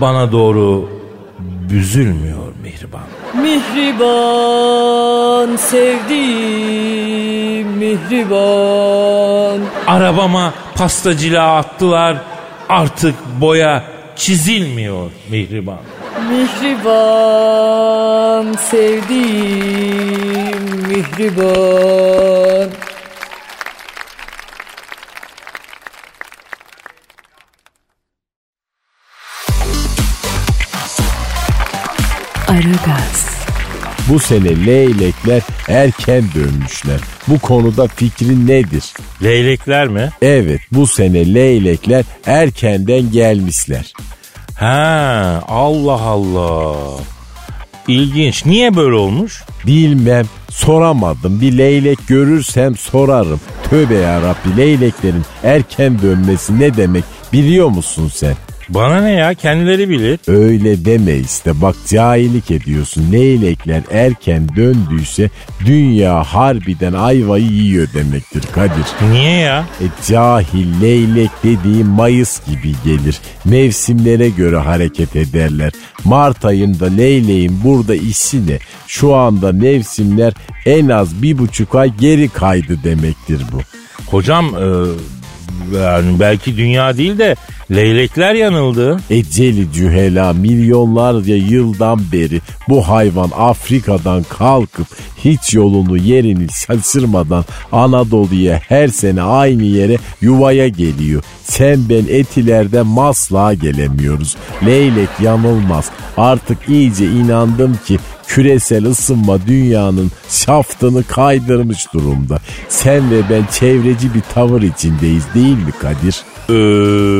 Speaker 3: bana doğru büzülmüyor mihriban.
Speaker 6: Mihriban sevdiğim Mihriban
Speaker 3: Arabama pastacılığa attılar. Artık boya çizilmiyor mihriban.
Speaker 6: Mihriban sevdiğim Mihriban
Speaker 2: Aragaz,
Speaker 4: Bu sene leylekler erken dönmüşler. Bu konuda fikrin nedir?
Speaker 3: Leylekler mi?
Speaker 4: Evet bu sene leylekler erkenden gelmişler.
Speaker 3: Ha Allah Allah. İlginç. Niye böyle olmuş?
Speaker 4: Bilmem soramadım bir leylek görürsem sorarım. Tövbe yarabbi leyleklerin erken dönmesi ne demek biliyor musun sen?
Speaker 3: Bana ne ya kendileri bilir.
Speaker 4: Öyle deme işte bak cahillik ediyorsun. Leylekler erken döndüyse dünya harbiden ayvayı yiyor demektir Kadir.
Speaker 3: Niye ya?
Speaker 4: E, cahil leylek dediği Mayıs gibi gelir. Mevsimlere göre hareket ederler. Mart ayında leyleğin burada işi ne? Şu anda mevsimler en az bir buçuk ay geri kaydı demektir bu.
Speaker 3: Hocam e, yani belki dünya değil de leylekler yanıldı.
Speaker 4: Eceli cühela milyonlarca yıldan beri bu hayvan Afrika'dan kalkıp hiç yolunu yerini şaşırmadan Anadolu'ya her sene aynı yere yuvaya geliyor. Sen ben etilerde masla gelemiyoruz. Leylek yanılmaz. Artık iyice inandım ki küresel ısınma dünyanın şaftını kaydırmış durumda. Sen ve ben çevreci bir tavır içindeyiz değil mi Kadir?
Speaker 3: Ee,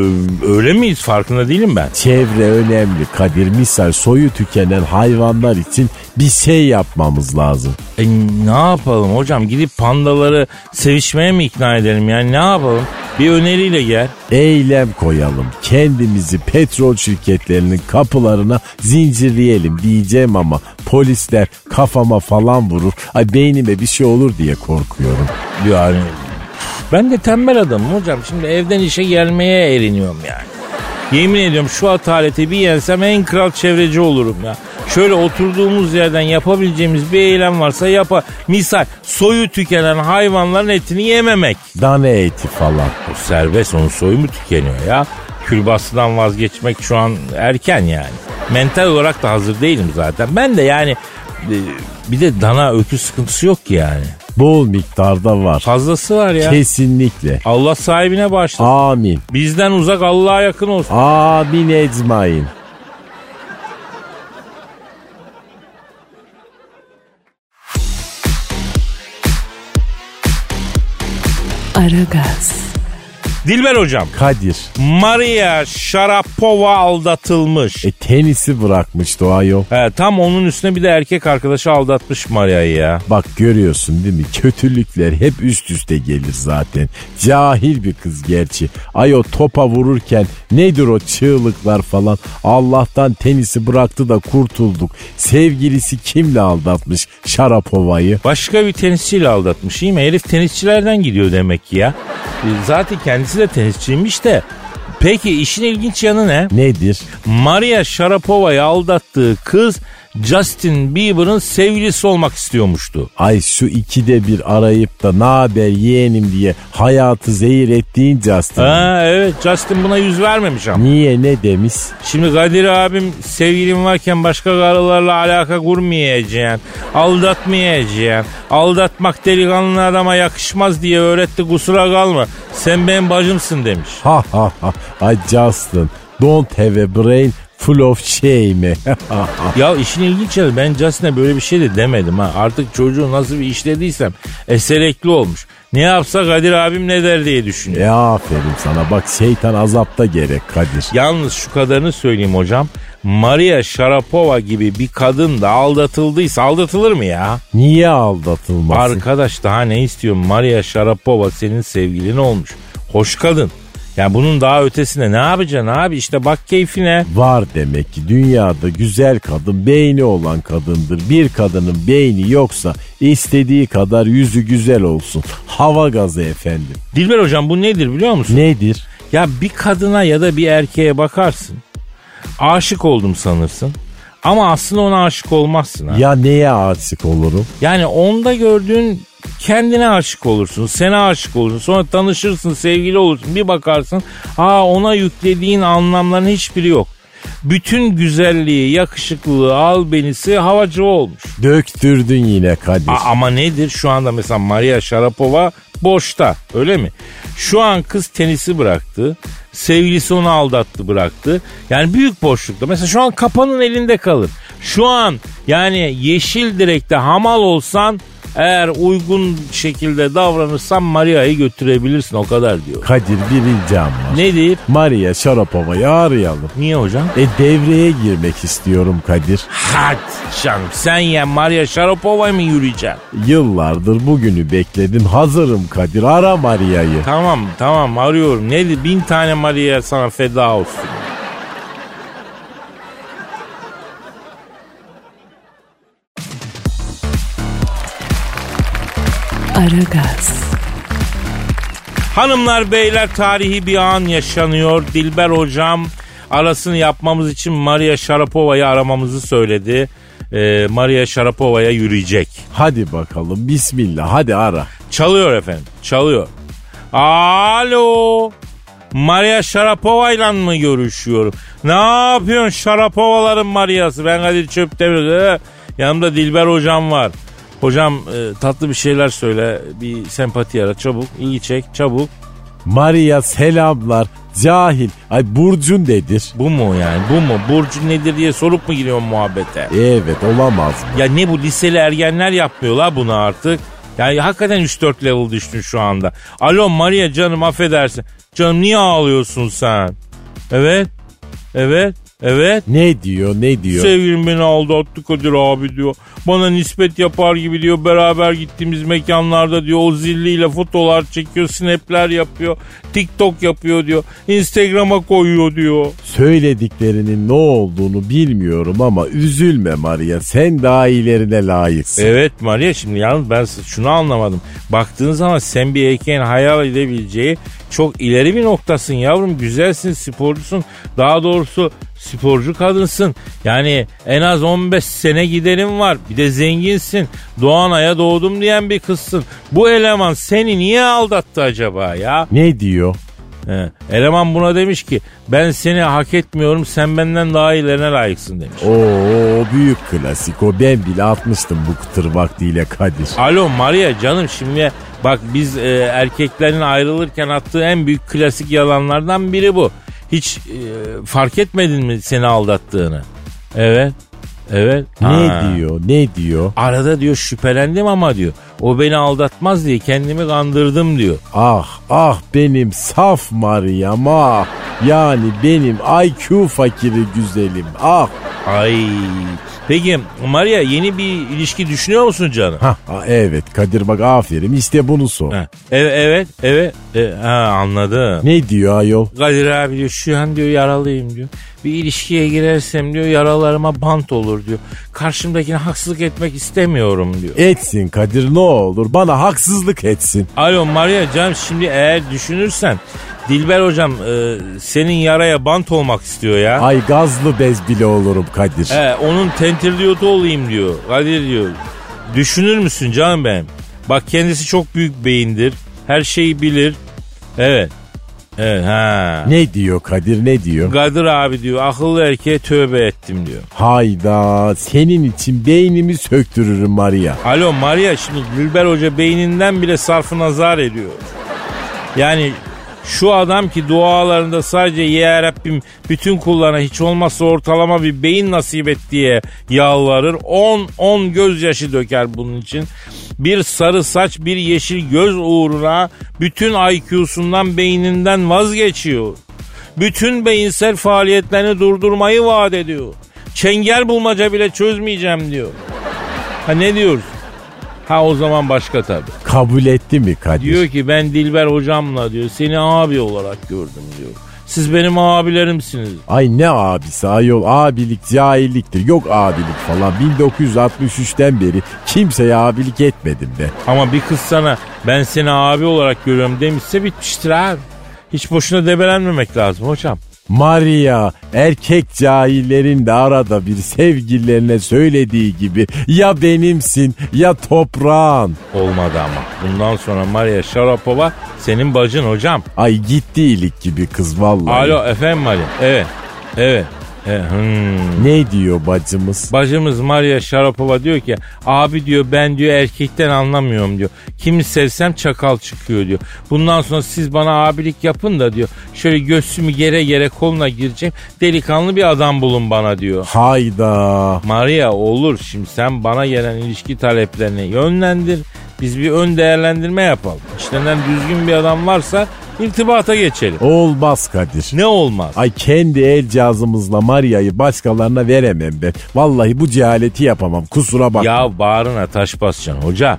Speaker 3: öyle miyiz farkında değilim ben.
Speaker 4: Çevre önemli Kadir. Misal soyu tükenen hayvanlar için bir şey yapmamız lazım.
Speaker 3: E, ne yapalım hocam gidip pandaları sevişmeye mi ikna edelim yani ne yapalım? Bir öneriyle gel.
Speaker 4: Eylem koyalım. Kendimizi petrol şirketlerinin kapılarına zincirleyelim diyeceğim ama polisler kafama falan vurur. Ay beynime bir şey olur diye korkuyorum.
Speaker 3: Yani hani. ben de tembel adamım hocam şimdi evden işe gelmeye eriniyorum yani. Yemin ediyorum şu ataleti bir yensem en kral çevreci olurum ya. Şöyle oturduğumuz yerden yapabileceğimiz bir eylem varsa yapa. Misal soyu tükenen hayvanların etini yememek.
Speaker 4: Dana eti falan.
Speaker 3: O serbest onun soyu mu tükeniyor ya? Külbastıdan vazgeçmek şu an erken yani. Mental olarak da hazır değilim zaten. Ben de yani e, bir de dana öküz sıkıntısı yok ki yani.
Speaker 4: Bol miktarda var.
Speaker 3: Fazlası var ya.
Speaker 4: Kesinlikle.
Speaker 3: Allah sahibine bağışlasın.
Speaker 4: Amin.
Speaker 3: Bizden uzak Allah'a yakın olsun.
Speaker 4: Amin ecmain.
Speaker 2: Aragaz,
Speaker 3: Dilber hocam.
Speaker 4: Kadir.
Speaker 3: Maria Sharapova aldatılmış.
Speaker 4: E tenisi bırakmış doğa yok.
Speaker 3: He, tam onun üstüne bir de erkek arkadaşı aldatmış Maria'yı ya.
Speaker 4: Bak görüyorsun değil mi? Kötülükler hep üst üste gelir zaten. Cahil bir kız gerçi. Ay o topa vururken nedir o çığlıklar falan. Allah'tan tenisi bıraktı da kurtulduk. Sevgilisi kimle aldatmış Şarapova'yı?
Speaker 3: Başka bir tenisçiyle aldatmış iyi mi? Herif tenisçilerden gidiyor demek ki ya. E, Zaten kendisi de tenisçiymiş de. Peki işin ilginç yanı ne?
Speaker 4: Nedir?
Speaker 3: Maria Sharapova'yı aldattığı kız Justin Bieber'ın sevgilisi olmak istiyormuştu.
Speaker 4: Ay şu ikide bir arayıp da ne haber yeğenim diye hayatı zehir ettiğin Justin.
Speaker 3: Ha, evet Justin buna yüz vermemiş ama.
Speaker 4: Niye ne demiş?
Speaker 3: Şimdi Kadir abim sevgilim varken başka karılarla alaka kurmayacaksın. Aldatmayacaksın. Aldatmak delikanlı adama yakışmaz diye öğretti kusura kalma. Sen benim bacımsın demiş.
Speaker 4: Ha ha ha. Ay Justin don't have a brain full of shame.
Speaker 3: Ya işin ilginç yanı ben Justin'e böyle bir şey de demedim ha. Artık çocuğu nasıl bir işlediysem eserekli olmuş. Ne yapsa Kadir abim ne der diye düşünüyor.
Speaker 4: E aferin sana bak şeytan azapta gerek Kadir.
Speaker 3: Yalnız şu kadarını söyleyeyim hocam. Maria Sharapova gibi bir kadın da aldatıldıysa aldatılır mı ya?
Speaker 4: Niye aldatılmasın?
Speaker 3: Arkadaş daha ne istiyorsun? Maria Sharapova senin sevgilin olmuş. Hoş kadın. Ya bunun daha ötesine ne yapacaksın abi? İşte bak keyfine.
Speaker 4: Var demek ki dünyada güzel kadın beyni olan kadındır. Bir kadının beyni yoksa istediği kadar yüzü güzel olsun. Hava gazı efendim.
Speaker 3: Dilber hocam bu nedir biliyor musun?
Speaker 4: Nedir?
Speaker 3: Ya bir kadına ya da bir erkeğe bakarsın. Aşık oldum sanırsın. Ama aslında ona aşık olmazsın ha.
Speaker 4: Ya neye aşık olurum?
Speaker 3: Yani onda gördüğün kendine aşık olursun. Sana aşık olursun. Sonra tanışırsın, sevgili olursun. Bir bakarsın. Aa ona yüklediğin anlamların hiçbiri yok. Bütün güzelliği, yakışıklılığı, albenisi havacı olmuş.
Speaker 4: Döktürdün yine Kadir.
Speaker 3: A- ama nedir? Şu anda mesela Maria Sharapova boşta öyle mi? Şu an kız tenisi bıraktı. Sevgilisi onu aldattı bıraktı. Yani büyük boşlukta. Mesela şu an kapanın elinde kalır. Şu an yani yeşil direkte hamal olsan eğer uygun şekilde davranırsan Maria'yı götürebilirsin o kadar diyor.
Speaker 4: Kadir bir ricam var.
Speaker 3: Nedir?
Speaker 4: Maria Şarapova'yı arayalım.
Speaker 3: Niye hocam?
Speaker 4: E devreye girmek istiyorum Kadir.
Speaker 3: Hadi canım sen ya Maria Sharapova'ya mı yürüyeceksin?
Speaker 4: Yıllardır bugünü bekledim. Hazırım Kadir. Ara Maria'yı.
Speaker 3: Tamam tamam arıyorum. Nedir? Bin tane Maria sana feda olsun.
Speaker 2: Aragaz,
Speaker 3: Hanımlar beyler tarihi bir an yaşanıyor. Dilber hocam arasını yapmamız için Maria Sharapova'yı aramamızı söyledi. Ee, Maria Sharapova'ya yürüyecek.
Speaker 4: Hadi bakalım. Bismillah. Hadi ara.
Speaker 3: Çalıyor efendim çalıyor. Alo Maria Sharapova ile mı görüşüyorum? Ne yapıyorsun Sharapovaların Maria'sı? Ben Kadir Çöptemir. Ee, yanımda Dilber hocam var. Hocam e, tatlı bir şeyler söyle. Bir sempati yarat çabuk. İyi çek çabuk.
Speaker 4: Maria selamlar. Cahil. Ay burcun nedir?
Speaker 3: Bu mu yani bu mu? Burcu nedir diye sorup mu giriyorsun muhabbete?
Speaker 4: Evet olamaz mı?
Speaker 3: Ya ne bu liseli ergenler yapmıyorlar bunu artık. Yani hakikaten 3-4 level düştün şu anda. Alo Maria canım affedersin. Canım niye ağlıyorsun sen? Evet. Evet. Evet.
Speaker 4: Ne diyor ne diyor?
Speaker 3: Sevgilim beni aldattı Kadir abi diyor. Bana nispet yapar gibi diyor. Beraber gittiğimiz mekanlarda diyor. O zilliyle fotolar çekiyor. Snapler yapıyor. TikTok yapıyor diyor. Instagram'a koyuyor diyor.
Speaker 4: Söylediklerinin ne olduğunu bilmiyorum ama üzülme Maria. Sen daha iyilerine layıksın.
Speaker 3: Evet Maria şimdi yalnız ben şunu anlamadım. Baktığın zaman sen bir erkeğin hayal edebileceği çok ileri bir noktasın yavrum. Güzelsin, sporcusun. Daha doğrusu sporcu kadınsın. Yani en az 15 sene giderim var. Bir de zenginsin. Doğanaya doğdum diyen bir kızsın. Bu eleman seni niye aldattı acaba ya?
Speaker 4: Ne diyor?
Speaker 3: He. Eleman buna demiş ki ben seni hak etmiyorum sen benden daha iyilerine layıksın demiş.
Speaker 4: Oo o büyük klasik. O ben bile atmıştım bu kıtır vaktiyle Kadir.
Speaker 3: Alo Maria canım şimdi bak biz e, erkeklerin ayrılırken attığı en büyük klasik yalanlardan biri bu. Hiç e, fark etmedin mi seni aldattığını? Evet. Evet.
Speaker 4: Ne
Speaker 3: Ha.
Speaker 4: diyor? Ne diyor?
Speaker 3: Arada diyor şüphelendim ama diyor. O beni aldatmaz diye kendimi kandırdım diyor.
Speaker 4: Ah ah benim saf Mariam ah. Yani benim IQ fakiri güzelim ah.
Speaker 3: Ay. Peki Maria yeni bir ilişki düşünüyor musun canım?
Speaker 4: Hah, ah, evet Kadir bak aferin işte bunu sor.
Speaker 3: Ha. Evet evet evet. E, ha, anladım.
Speaker 4: Ne diyor ayol?
Speaker 3: Kadir abi diyor şu an diyor yaralıyım diyor. Bir ilişkiye girersem diyor yaralarıma bant olur diyor. Karşımdakine haksızlık etmek istemiyorum diyor.
Speaker 4: Etsin Kadir ne olur bana haksızlık etsin.
Speaker 3: Alo Maria Can şimdi eğer düşünürsen Dilber hocam e, senin yaraya bant olmak istiyor ya.
Speaker 4: Ay gazlı bez bile olurum Kadir.
Speaker 3: He, onun tentirdiyotu olayım diyor. Kadir diyor. Düşünür müsün canım benim? Bak kendisi çok büyük beyindir. Her şeyi bilir. Evet. Evet ha.
Speaker 4: Ne diyor Kadir ne diyor?
Speaker 3: Kadir abi diyor akıllı erkeğe tövbe ettim diyor.
Speaker 4: Hayda senin için beynimi söktürürüm Maria.
Speaker 3: Alo Maria şimdi Gülber Hoca beyninden bile sarfı nazar ediyor. Yani şu adam ki dualarında sadece ya Rabbim bütün kullarına hiç olmazsa ortalama bir beyin nasip et diye yalvarır. 10 10 gözyaşı döker bunun için. Bir sarı saç bir yeşil göz uğruna bütün IQ'sundan beyninden vazgeçiyor. Bütün beyinsel faaliyetlerini durdurmayı vaat ediyor. Çengel bulmaca bile çözmeyeceğim diyor. Ha ne diyoruz? Ha o zaman başka tabii.
Speaker 4: Kabul etti mi Kadir?
Speaker 3: Diyor ki ben Dilber hocamla diyor seni abi olarak gördüm diyor. Siz benim abilerimsiniz.
Speaker 4: Ay ne abisi ayol abilik cahilliktir yok abilik falan 1963'ten beri kimseye abilik etmedim de.
Speaker 3: Ama bir kız sana ben seni abi olarak görüyorum demişse bitmiştir abi. Hiç boşuna debelenmemek lazım hocam.
Speaker 4: Maria erkek cahillerin de arada bir sevgililerine söylediği gibi ya benimsin ya toprağın.
Speaker 3: Olmadı ama. Bundan sonra Maria Sharapova senin bacın hocam.
Speaker 4: Ay gitti iyilik gibi kız vallahi.
Speaker 3: Alo efendim Maria. Evet. Evet. E, hmm.
Speaker 4: Ne diyor bacımız?
Speaker 3: Bacımız Maria Sharapova diyor ki abi diyor ben diyor erkekten anlamıyorum diyor. Kimi sevsem çakal çıkıyor diyor. Bundan sonra siz bana abilik yapın da diyor. Şöyle göğsümü gere gere koluna gireceğim. Delikanlı bir adam bulun bana diyor.
Speaker 4: Hayda.
Speaker 3: Maria olur şimdi sen bana gelen ilişki taleplerini yönlendir. Biz bir ön değerlendirme yapalım. İşlerinden düzgün bir adam varsa irtibata geçelim.
Speaker 4: Olmaz Kadir.
Speaker 3: Ne olmaz?
Speaker 4: Ay kendi el cazımızla Maria'yı başkalarına veremem ben. Vallahi bu cehaleti yapamam kusura bakma.
Speaker 3: Ya bağrına taş basacaksın hoca.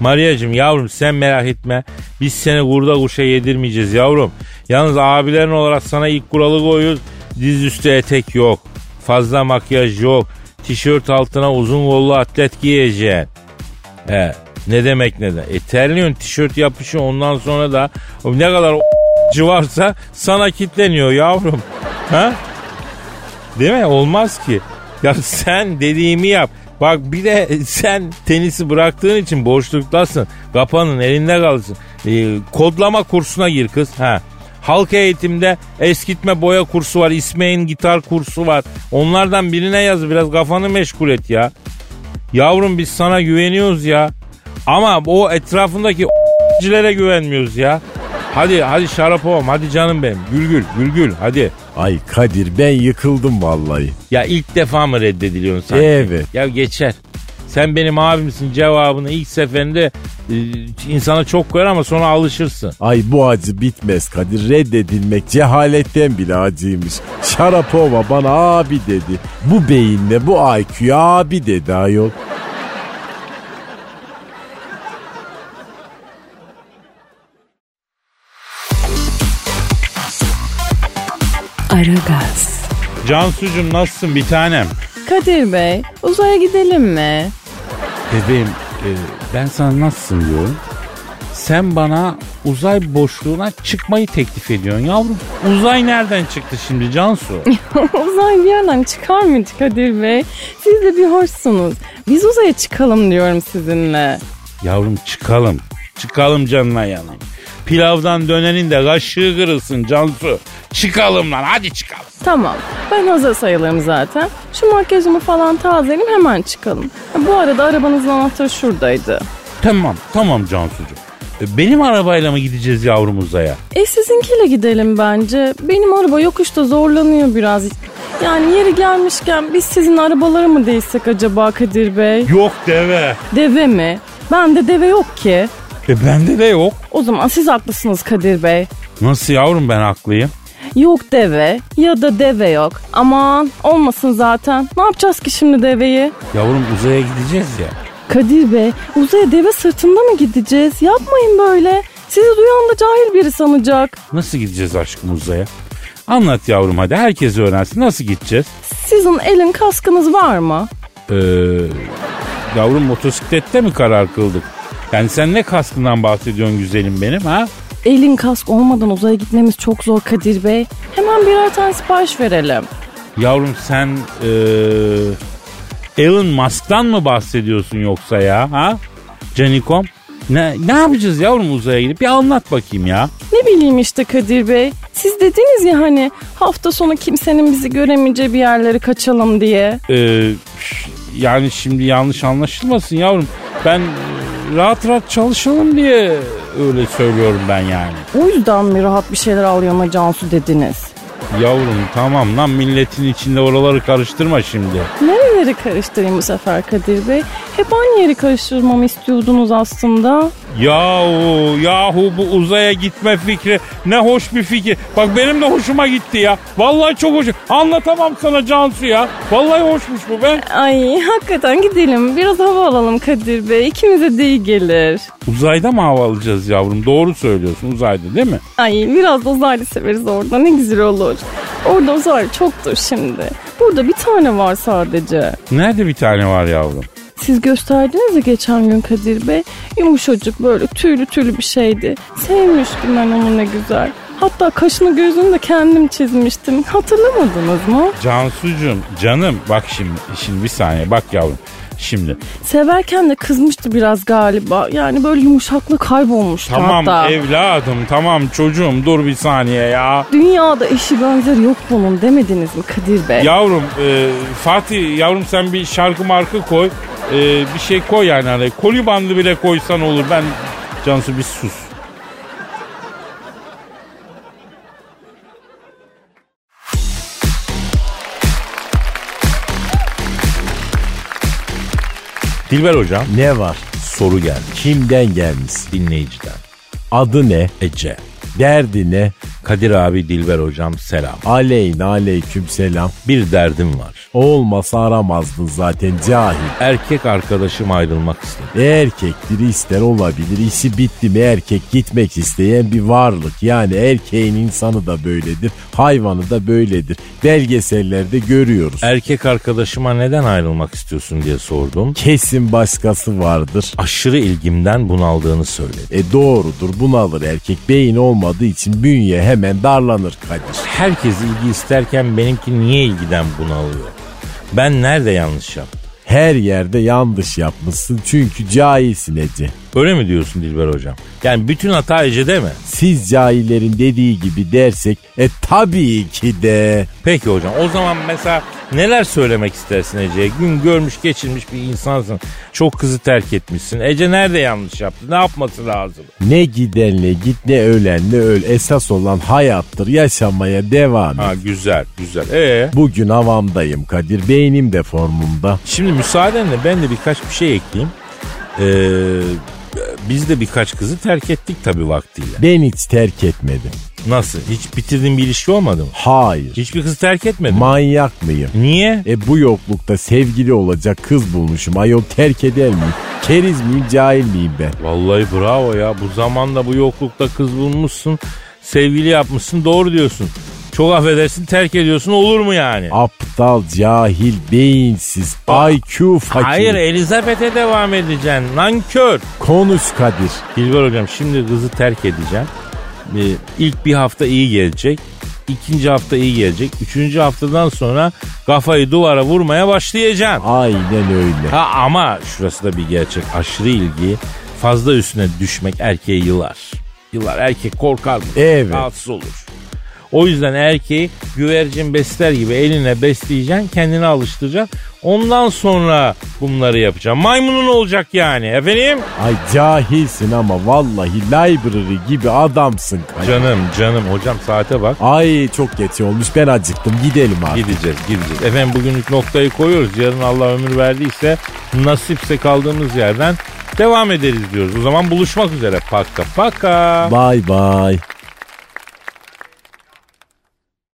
Speaker 3: Mariacığım yavrum sen merak etme. Biz seni kurda kuşa yedirmeyeceğiz yavrum. Yalnız abilerin olarak sana ilk kuralı koyuyoruz. Diz üstü etek yok. Fazla makyaj yok. Tişört altına uzun kollu atlet giyeceksin. He, ne demek ne de. E terliyorsun tişört yapışı ondan sonra da ne kadar o- varsa sana kitleniyor yavrum. Ha? Değil mi? Olmaz ki. Ya sen dediğimi yap. Bak bir de sen tenisi bıraktığın için boşluktasın. Kapanın elinde kalırsın. Ee, kodlama kursuna gir kız. Ha. Halk eğitimde eskitme boya kursu var. İsmail'in gitar kursu var. Onlardan birine yaz biraz kafanı meşgul et ya. Yavrum biz sana güveniyoruz ya. Ama o etrafındaki cilere güvenmiyoruz ya. Hadi hadi Şarapova'm hadi canım benim. Gülgül Gülgül hadi.
Speaker 4: Ay Kadir ben yıkıldım vallahi.
Speaker 3: Ya ilk defa mı reddediliyorsun sen?
Speaker 4: Evet.
Speaker 3: Ya geçer. Sen benim abimsin cevabını ilk seferinde e, insana çok koyar ama sonra alışırsın.
Speaker 4: Ay bu acı bitmez Kadir. Reddedilmek cehaletten bile acıymış. Şarapova bana abi dedi. Bu beyinle bu IQ'ya abi dedi ayol.
Speaker 7: Aragaz.
Speaker 3: Cansucuğum nasılsın bir tanem?
Speaker 7: Kadir Bey, uzaya gidelim mi?
Speaker 3: Bebeğim e, ben sana nasılsın diyorum. Sen bana uzay boşluğuna çıkmayı teklif ediyorsun yavrum. Uzay nereden çıktı şimdi Cansu?
Speaker 7: Uzay bir yerden çıkar mıydı Kadir Bey? Siz de bir hoşsunuz. Biz uzaya çıkalım diyorum sizinle.
Speaker 3: yavrum çıkalım. Çıkalım canına yanan. Pilavdan dönenin de kaşığı kırılsın Cansu. Çıkalım lan hadi çıkalım.
Speaker 7: Tamam, ben hazır sayılırım zaten. Şu makyajımı falan tazeleyeyim hemen çıkalım. Ha, Bu arada arabanızın anahtarı şuradaydı.
Speaker 3: Tamam tamam Cansucuğum. E, Benim arabayla mı gideceğiz yavrum uzaya?
Speaker 7: E sizinkiyle gidelim bence. Benim araba yokuşta zorlanıyor biraz. Yani yeri gelmişken biz sizin arabalara mı değsek acaba Kadir Bey?
Speaker 3: Yok deve.
Speaker 7: Deve mi? Bende deve yok ki.
Speaker 3: E bende de yok.
Speaker 7: O zaman siz haklısınız Kadir Bey.
Speaker 3: Nasıl yavrum ben haklıyım?
Speaker 7: Yok deve ya da deve yok. Aman olmasın zaten. Ne yapacağız ki şimdi deveyi?
Speaker 3: Yavrum uzaya gideceğiz ya.
Speaker 7: Kadir Bey uzaya deve sırtında mı gideceğiz? Yapmayın böyle. Sizi duyan da cahil biri sanacak.
Speaker 3: Nasıl gideceğiz aşkım uzaya? Anlat yavrum hadi herkes öğrensin nasıl gideceğiz?
Speaker 7: Sizin elin kaskınız var mı?
Speaker 3: Ee, yavrum motosiklette mi karar kıldık? Yani sen ne kaskından bahsediyorsun güzelim benim ha?
Speaker 7: Elin kask olmadan uzaya gitmemiz çok zor Kadir Bey. Hemen birer tane sipariş verelim.
Speaker 3: Yavrum sen ee, Elon Musk'tan mı bahsediyorsun yoksa ya ha? Canikom ne, ne yapacağız yavrum uzaya gidip bir anlat bakayım ya.
Speaker 7: Ne bileyim işte Kadir Bey. Siz dediniz ya hani hafta sonu kimsenin bizi göremeyeceği bir yerlere kaçalım diye.
Speaker 3: Ee, yani şimdi yanlış anlaşılmasın yavrum. Ben rahat rahat çalışalım diye öyle söylüyorum ben yani.
Speaker 7: O yüzden mi rahat bir şeyler alıyorum Cansu dediniz?
Speaker 3: Yavrum tamam lan milletin içinde oraları karıştırma şimdi.
Speaker 7: Nereleri karıştırayım bu sefer Kadir Bey? Hep aynı yeri karıştırmamı istiyordunuz aslında.
Speaker 3: Yahu yahu bu uzaya gitme fikri ne hoş bir fikir. Bak benim de hoşuma gitti ya. Vallahi çok hoş. Anlatamam sana Cansu ya. Vallahi hoşmuş bu be.
Speaker 7: Ay hakikaten gidelim. Biraz hava alalım Kadir Bey. İkimize de iyi gelir.
Speaker 3: Uzayda mı hava alacağız yavrum? Doğru söylüyorsun uzayda değil mi?
Speaker 7: Ay biraz da uzaylı severiz orada. Ne güzel olur. Orada uzaylı çoktur şimdi. Burada bir tane var sadece.
Speaker 3: Nerede bir tane var yavrum?
Speaker 7: Siz gösterdiniz ya geçen gün Kadir Bey. Yumuşacık böyle tüylü tüylü bir şeydi. Sevmiştim ben onu ne güzel. Hatta kaşını gözünü de kendim çizmiştim. Hatırlamadınız mı?
Speaker 3: Cansucuğum canım bak şimdi şimdi bir saniye bak yavrum. Şimdi
Speaker 7: Severken de kızmıştı biraz galiba. Yani böyle yumuşaklık kaybolmuştu
Speaker 3: tamam
Speaker 7: hatta.
Speaker 3: evladım tamam çocuğum dur bir saniye ya.
Speaker 7: Dünyada eşi benzeri yok bunun demediniz mi Kadir Bey?
Speaker 3: Yavrum e, Fatih yavrum sen bir şarkı markı koy. E, bir şey koy yani hani koli bandı bile koysan olur. Ben Cansu bir sus. Dilber hocam
Speaker 4: Ne var?
Speaker 3: soru geldi
Speaker 4: Kimden gelmiş?
Speaker 3: dinleyiciden.
Speaker 4: Adı ne?
Speaker 3: Ece.
Speaker 4: Derdi ne?
Speaker 3: Kadir abi Dilber hocam selam.
Speaker 4: Aleyna aleyküm selam.
Speaker 3: Bir derdim var.
Speaker 4: Olmasa aramazdın zaten cahil.
Speaker 3: Erkek arkadaşım ayrılmak istedi.
Speaker 4: Erkek biri ister olabilir. İşi bitti mi erkek gitmek isteyen bir varlık. Yani erkeğin insanı da böyledir. Hayvanı da böyledir. Belgesellerde görüyoruz.
Speaker 3: Erkek arkadaşıma neden ayrılmak istiyorsun diye sordum.
Speaker 4: Kesin başkası vardır.
Speaker 3: Aşırı ilgimden bunaldığını söyledi.
Speaker 4: E doğrudur bunalır erkek. Beyin olmadığı için bünye hemen darlanır Kadir.
Speaker 3: Herkes ilgi isterken benimki niye ilgiden bunalıyor? Ben nerede yanlış yaptım?
Speaker 4: Her yerde yanlış yapmışsın çünkü cahilsin Ece.
Speaker 3: Öyle mi diyorsun Dilber hocam? Yani bütün hata Ece'de mi?
Speaker 4: Siz cahillerin dediği gibi dersek e tabii ki de.
Speaker 3: Peki hocam o zaman mesela neler söylemek istersin Ece'ye? Gün görmüş geçirmiş bir insansın. Çok kızı terk etmişsin. Ece nerede yanlış yaptı? Ne yapması lazım?
Speaker 4: Ne gidenle git ne ölenle öl. Esas olan hayattır yaşamaya devam et.
Speaker 3: Ha güzel güzel. Ee
Speaker 4: Bugün havamdayım Kadir. Beynim de formumda.
Speaker 3: şimdi müsaadenle ben de birkaç bir şey ekleyeyim. Ee, biz de birkaç kızı terk ettik tabii vaktiyle.
Speaker 4: Ben hiç terk etmedim.
Speaker 3: Nasıl? Hiç bitirdiğin bir ilişki olmadı mı?
Speaker 4: Hayır.
Speaker 3: Hiçbir kızı terk etmedin. mi?
Speaker 4: Manyak mıyım?
Speaker 3: Niye?
Speaker 4: E bu yoklukta sevgili olacak kız bulmuşum. Ayol terk eder miyim? Keriz miyim cahil miyim ben?
Speaker 3: Vallahi bravo ya. Bu zamanda bu yoklukta kız bulmuşsun. Sevgili yapmışsın. Doğru diyorsun. Çok affedersin terk ediyorsun olur mu yani?
Speaker 4: Aptal, cahil, beyinsiz, IQ fakir.
Speaker 3: Hayır e- Elizabeth'e devam edeceksin. Nankör.
Speaker 4: Konuş Kadir.
Speaker 3: Dilber hocam şimdi kızı terk edeceğim. Ee, ilk bir hafta iyi gelecek. ikinci hafta iyi gelecek. Üçüncü haftadan sonra kafayı duvara vurmaya başlayacaksın.
Speaker 4: Aynen öyle.
Speaker 3: Ha ama şurası da bir gerçek. Aşırı ilgi fazla üstüne düşmek erkeği yılar. Yılar erkek korkar mı?
Speaker 4: Evet.
Speaker 3: Rahatsız olur. O yüzden erkeği güvercin besler gibi eline besleyeceksin, kendini alıştıracaksın. Ondan sonra bunları yapacaksın. Maymunun olacak yani efendim.
Speaker 4: Ay cahilsin ama vallahi library gibi adamsın Kadir.
Speaker 3: Canım canım hocam saate bak.
Speaker 4: Ay çok geç olmuş ben acıktım gidelim artık.
Speaker 3: Gideceğiz gideceğiz. Efendim bugünlük noktayı koyuyoruz. Yarın Allah ömür verdiyse nasipse kaldığımız yerden devam ederiz diyoruz. O zaman buluşmak üzere. Paka paka.
Speaker 4: Bay bay.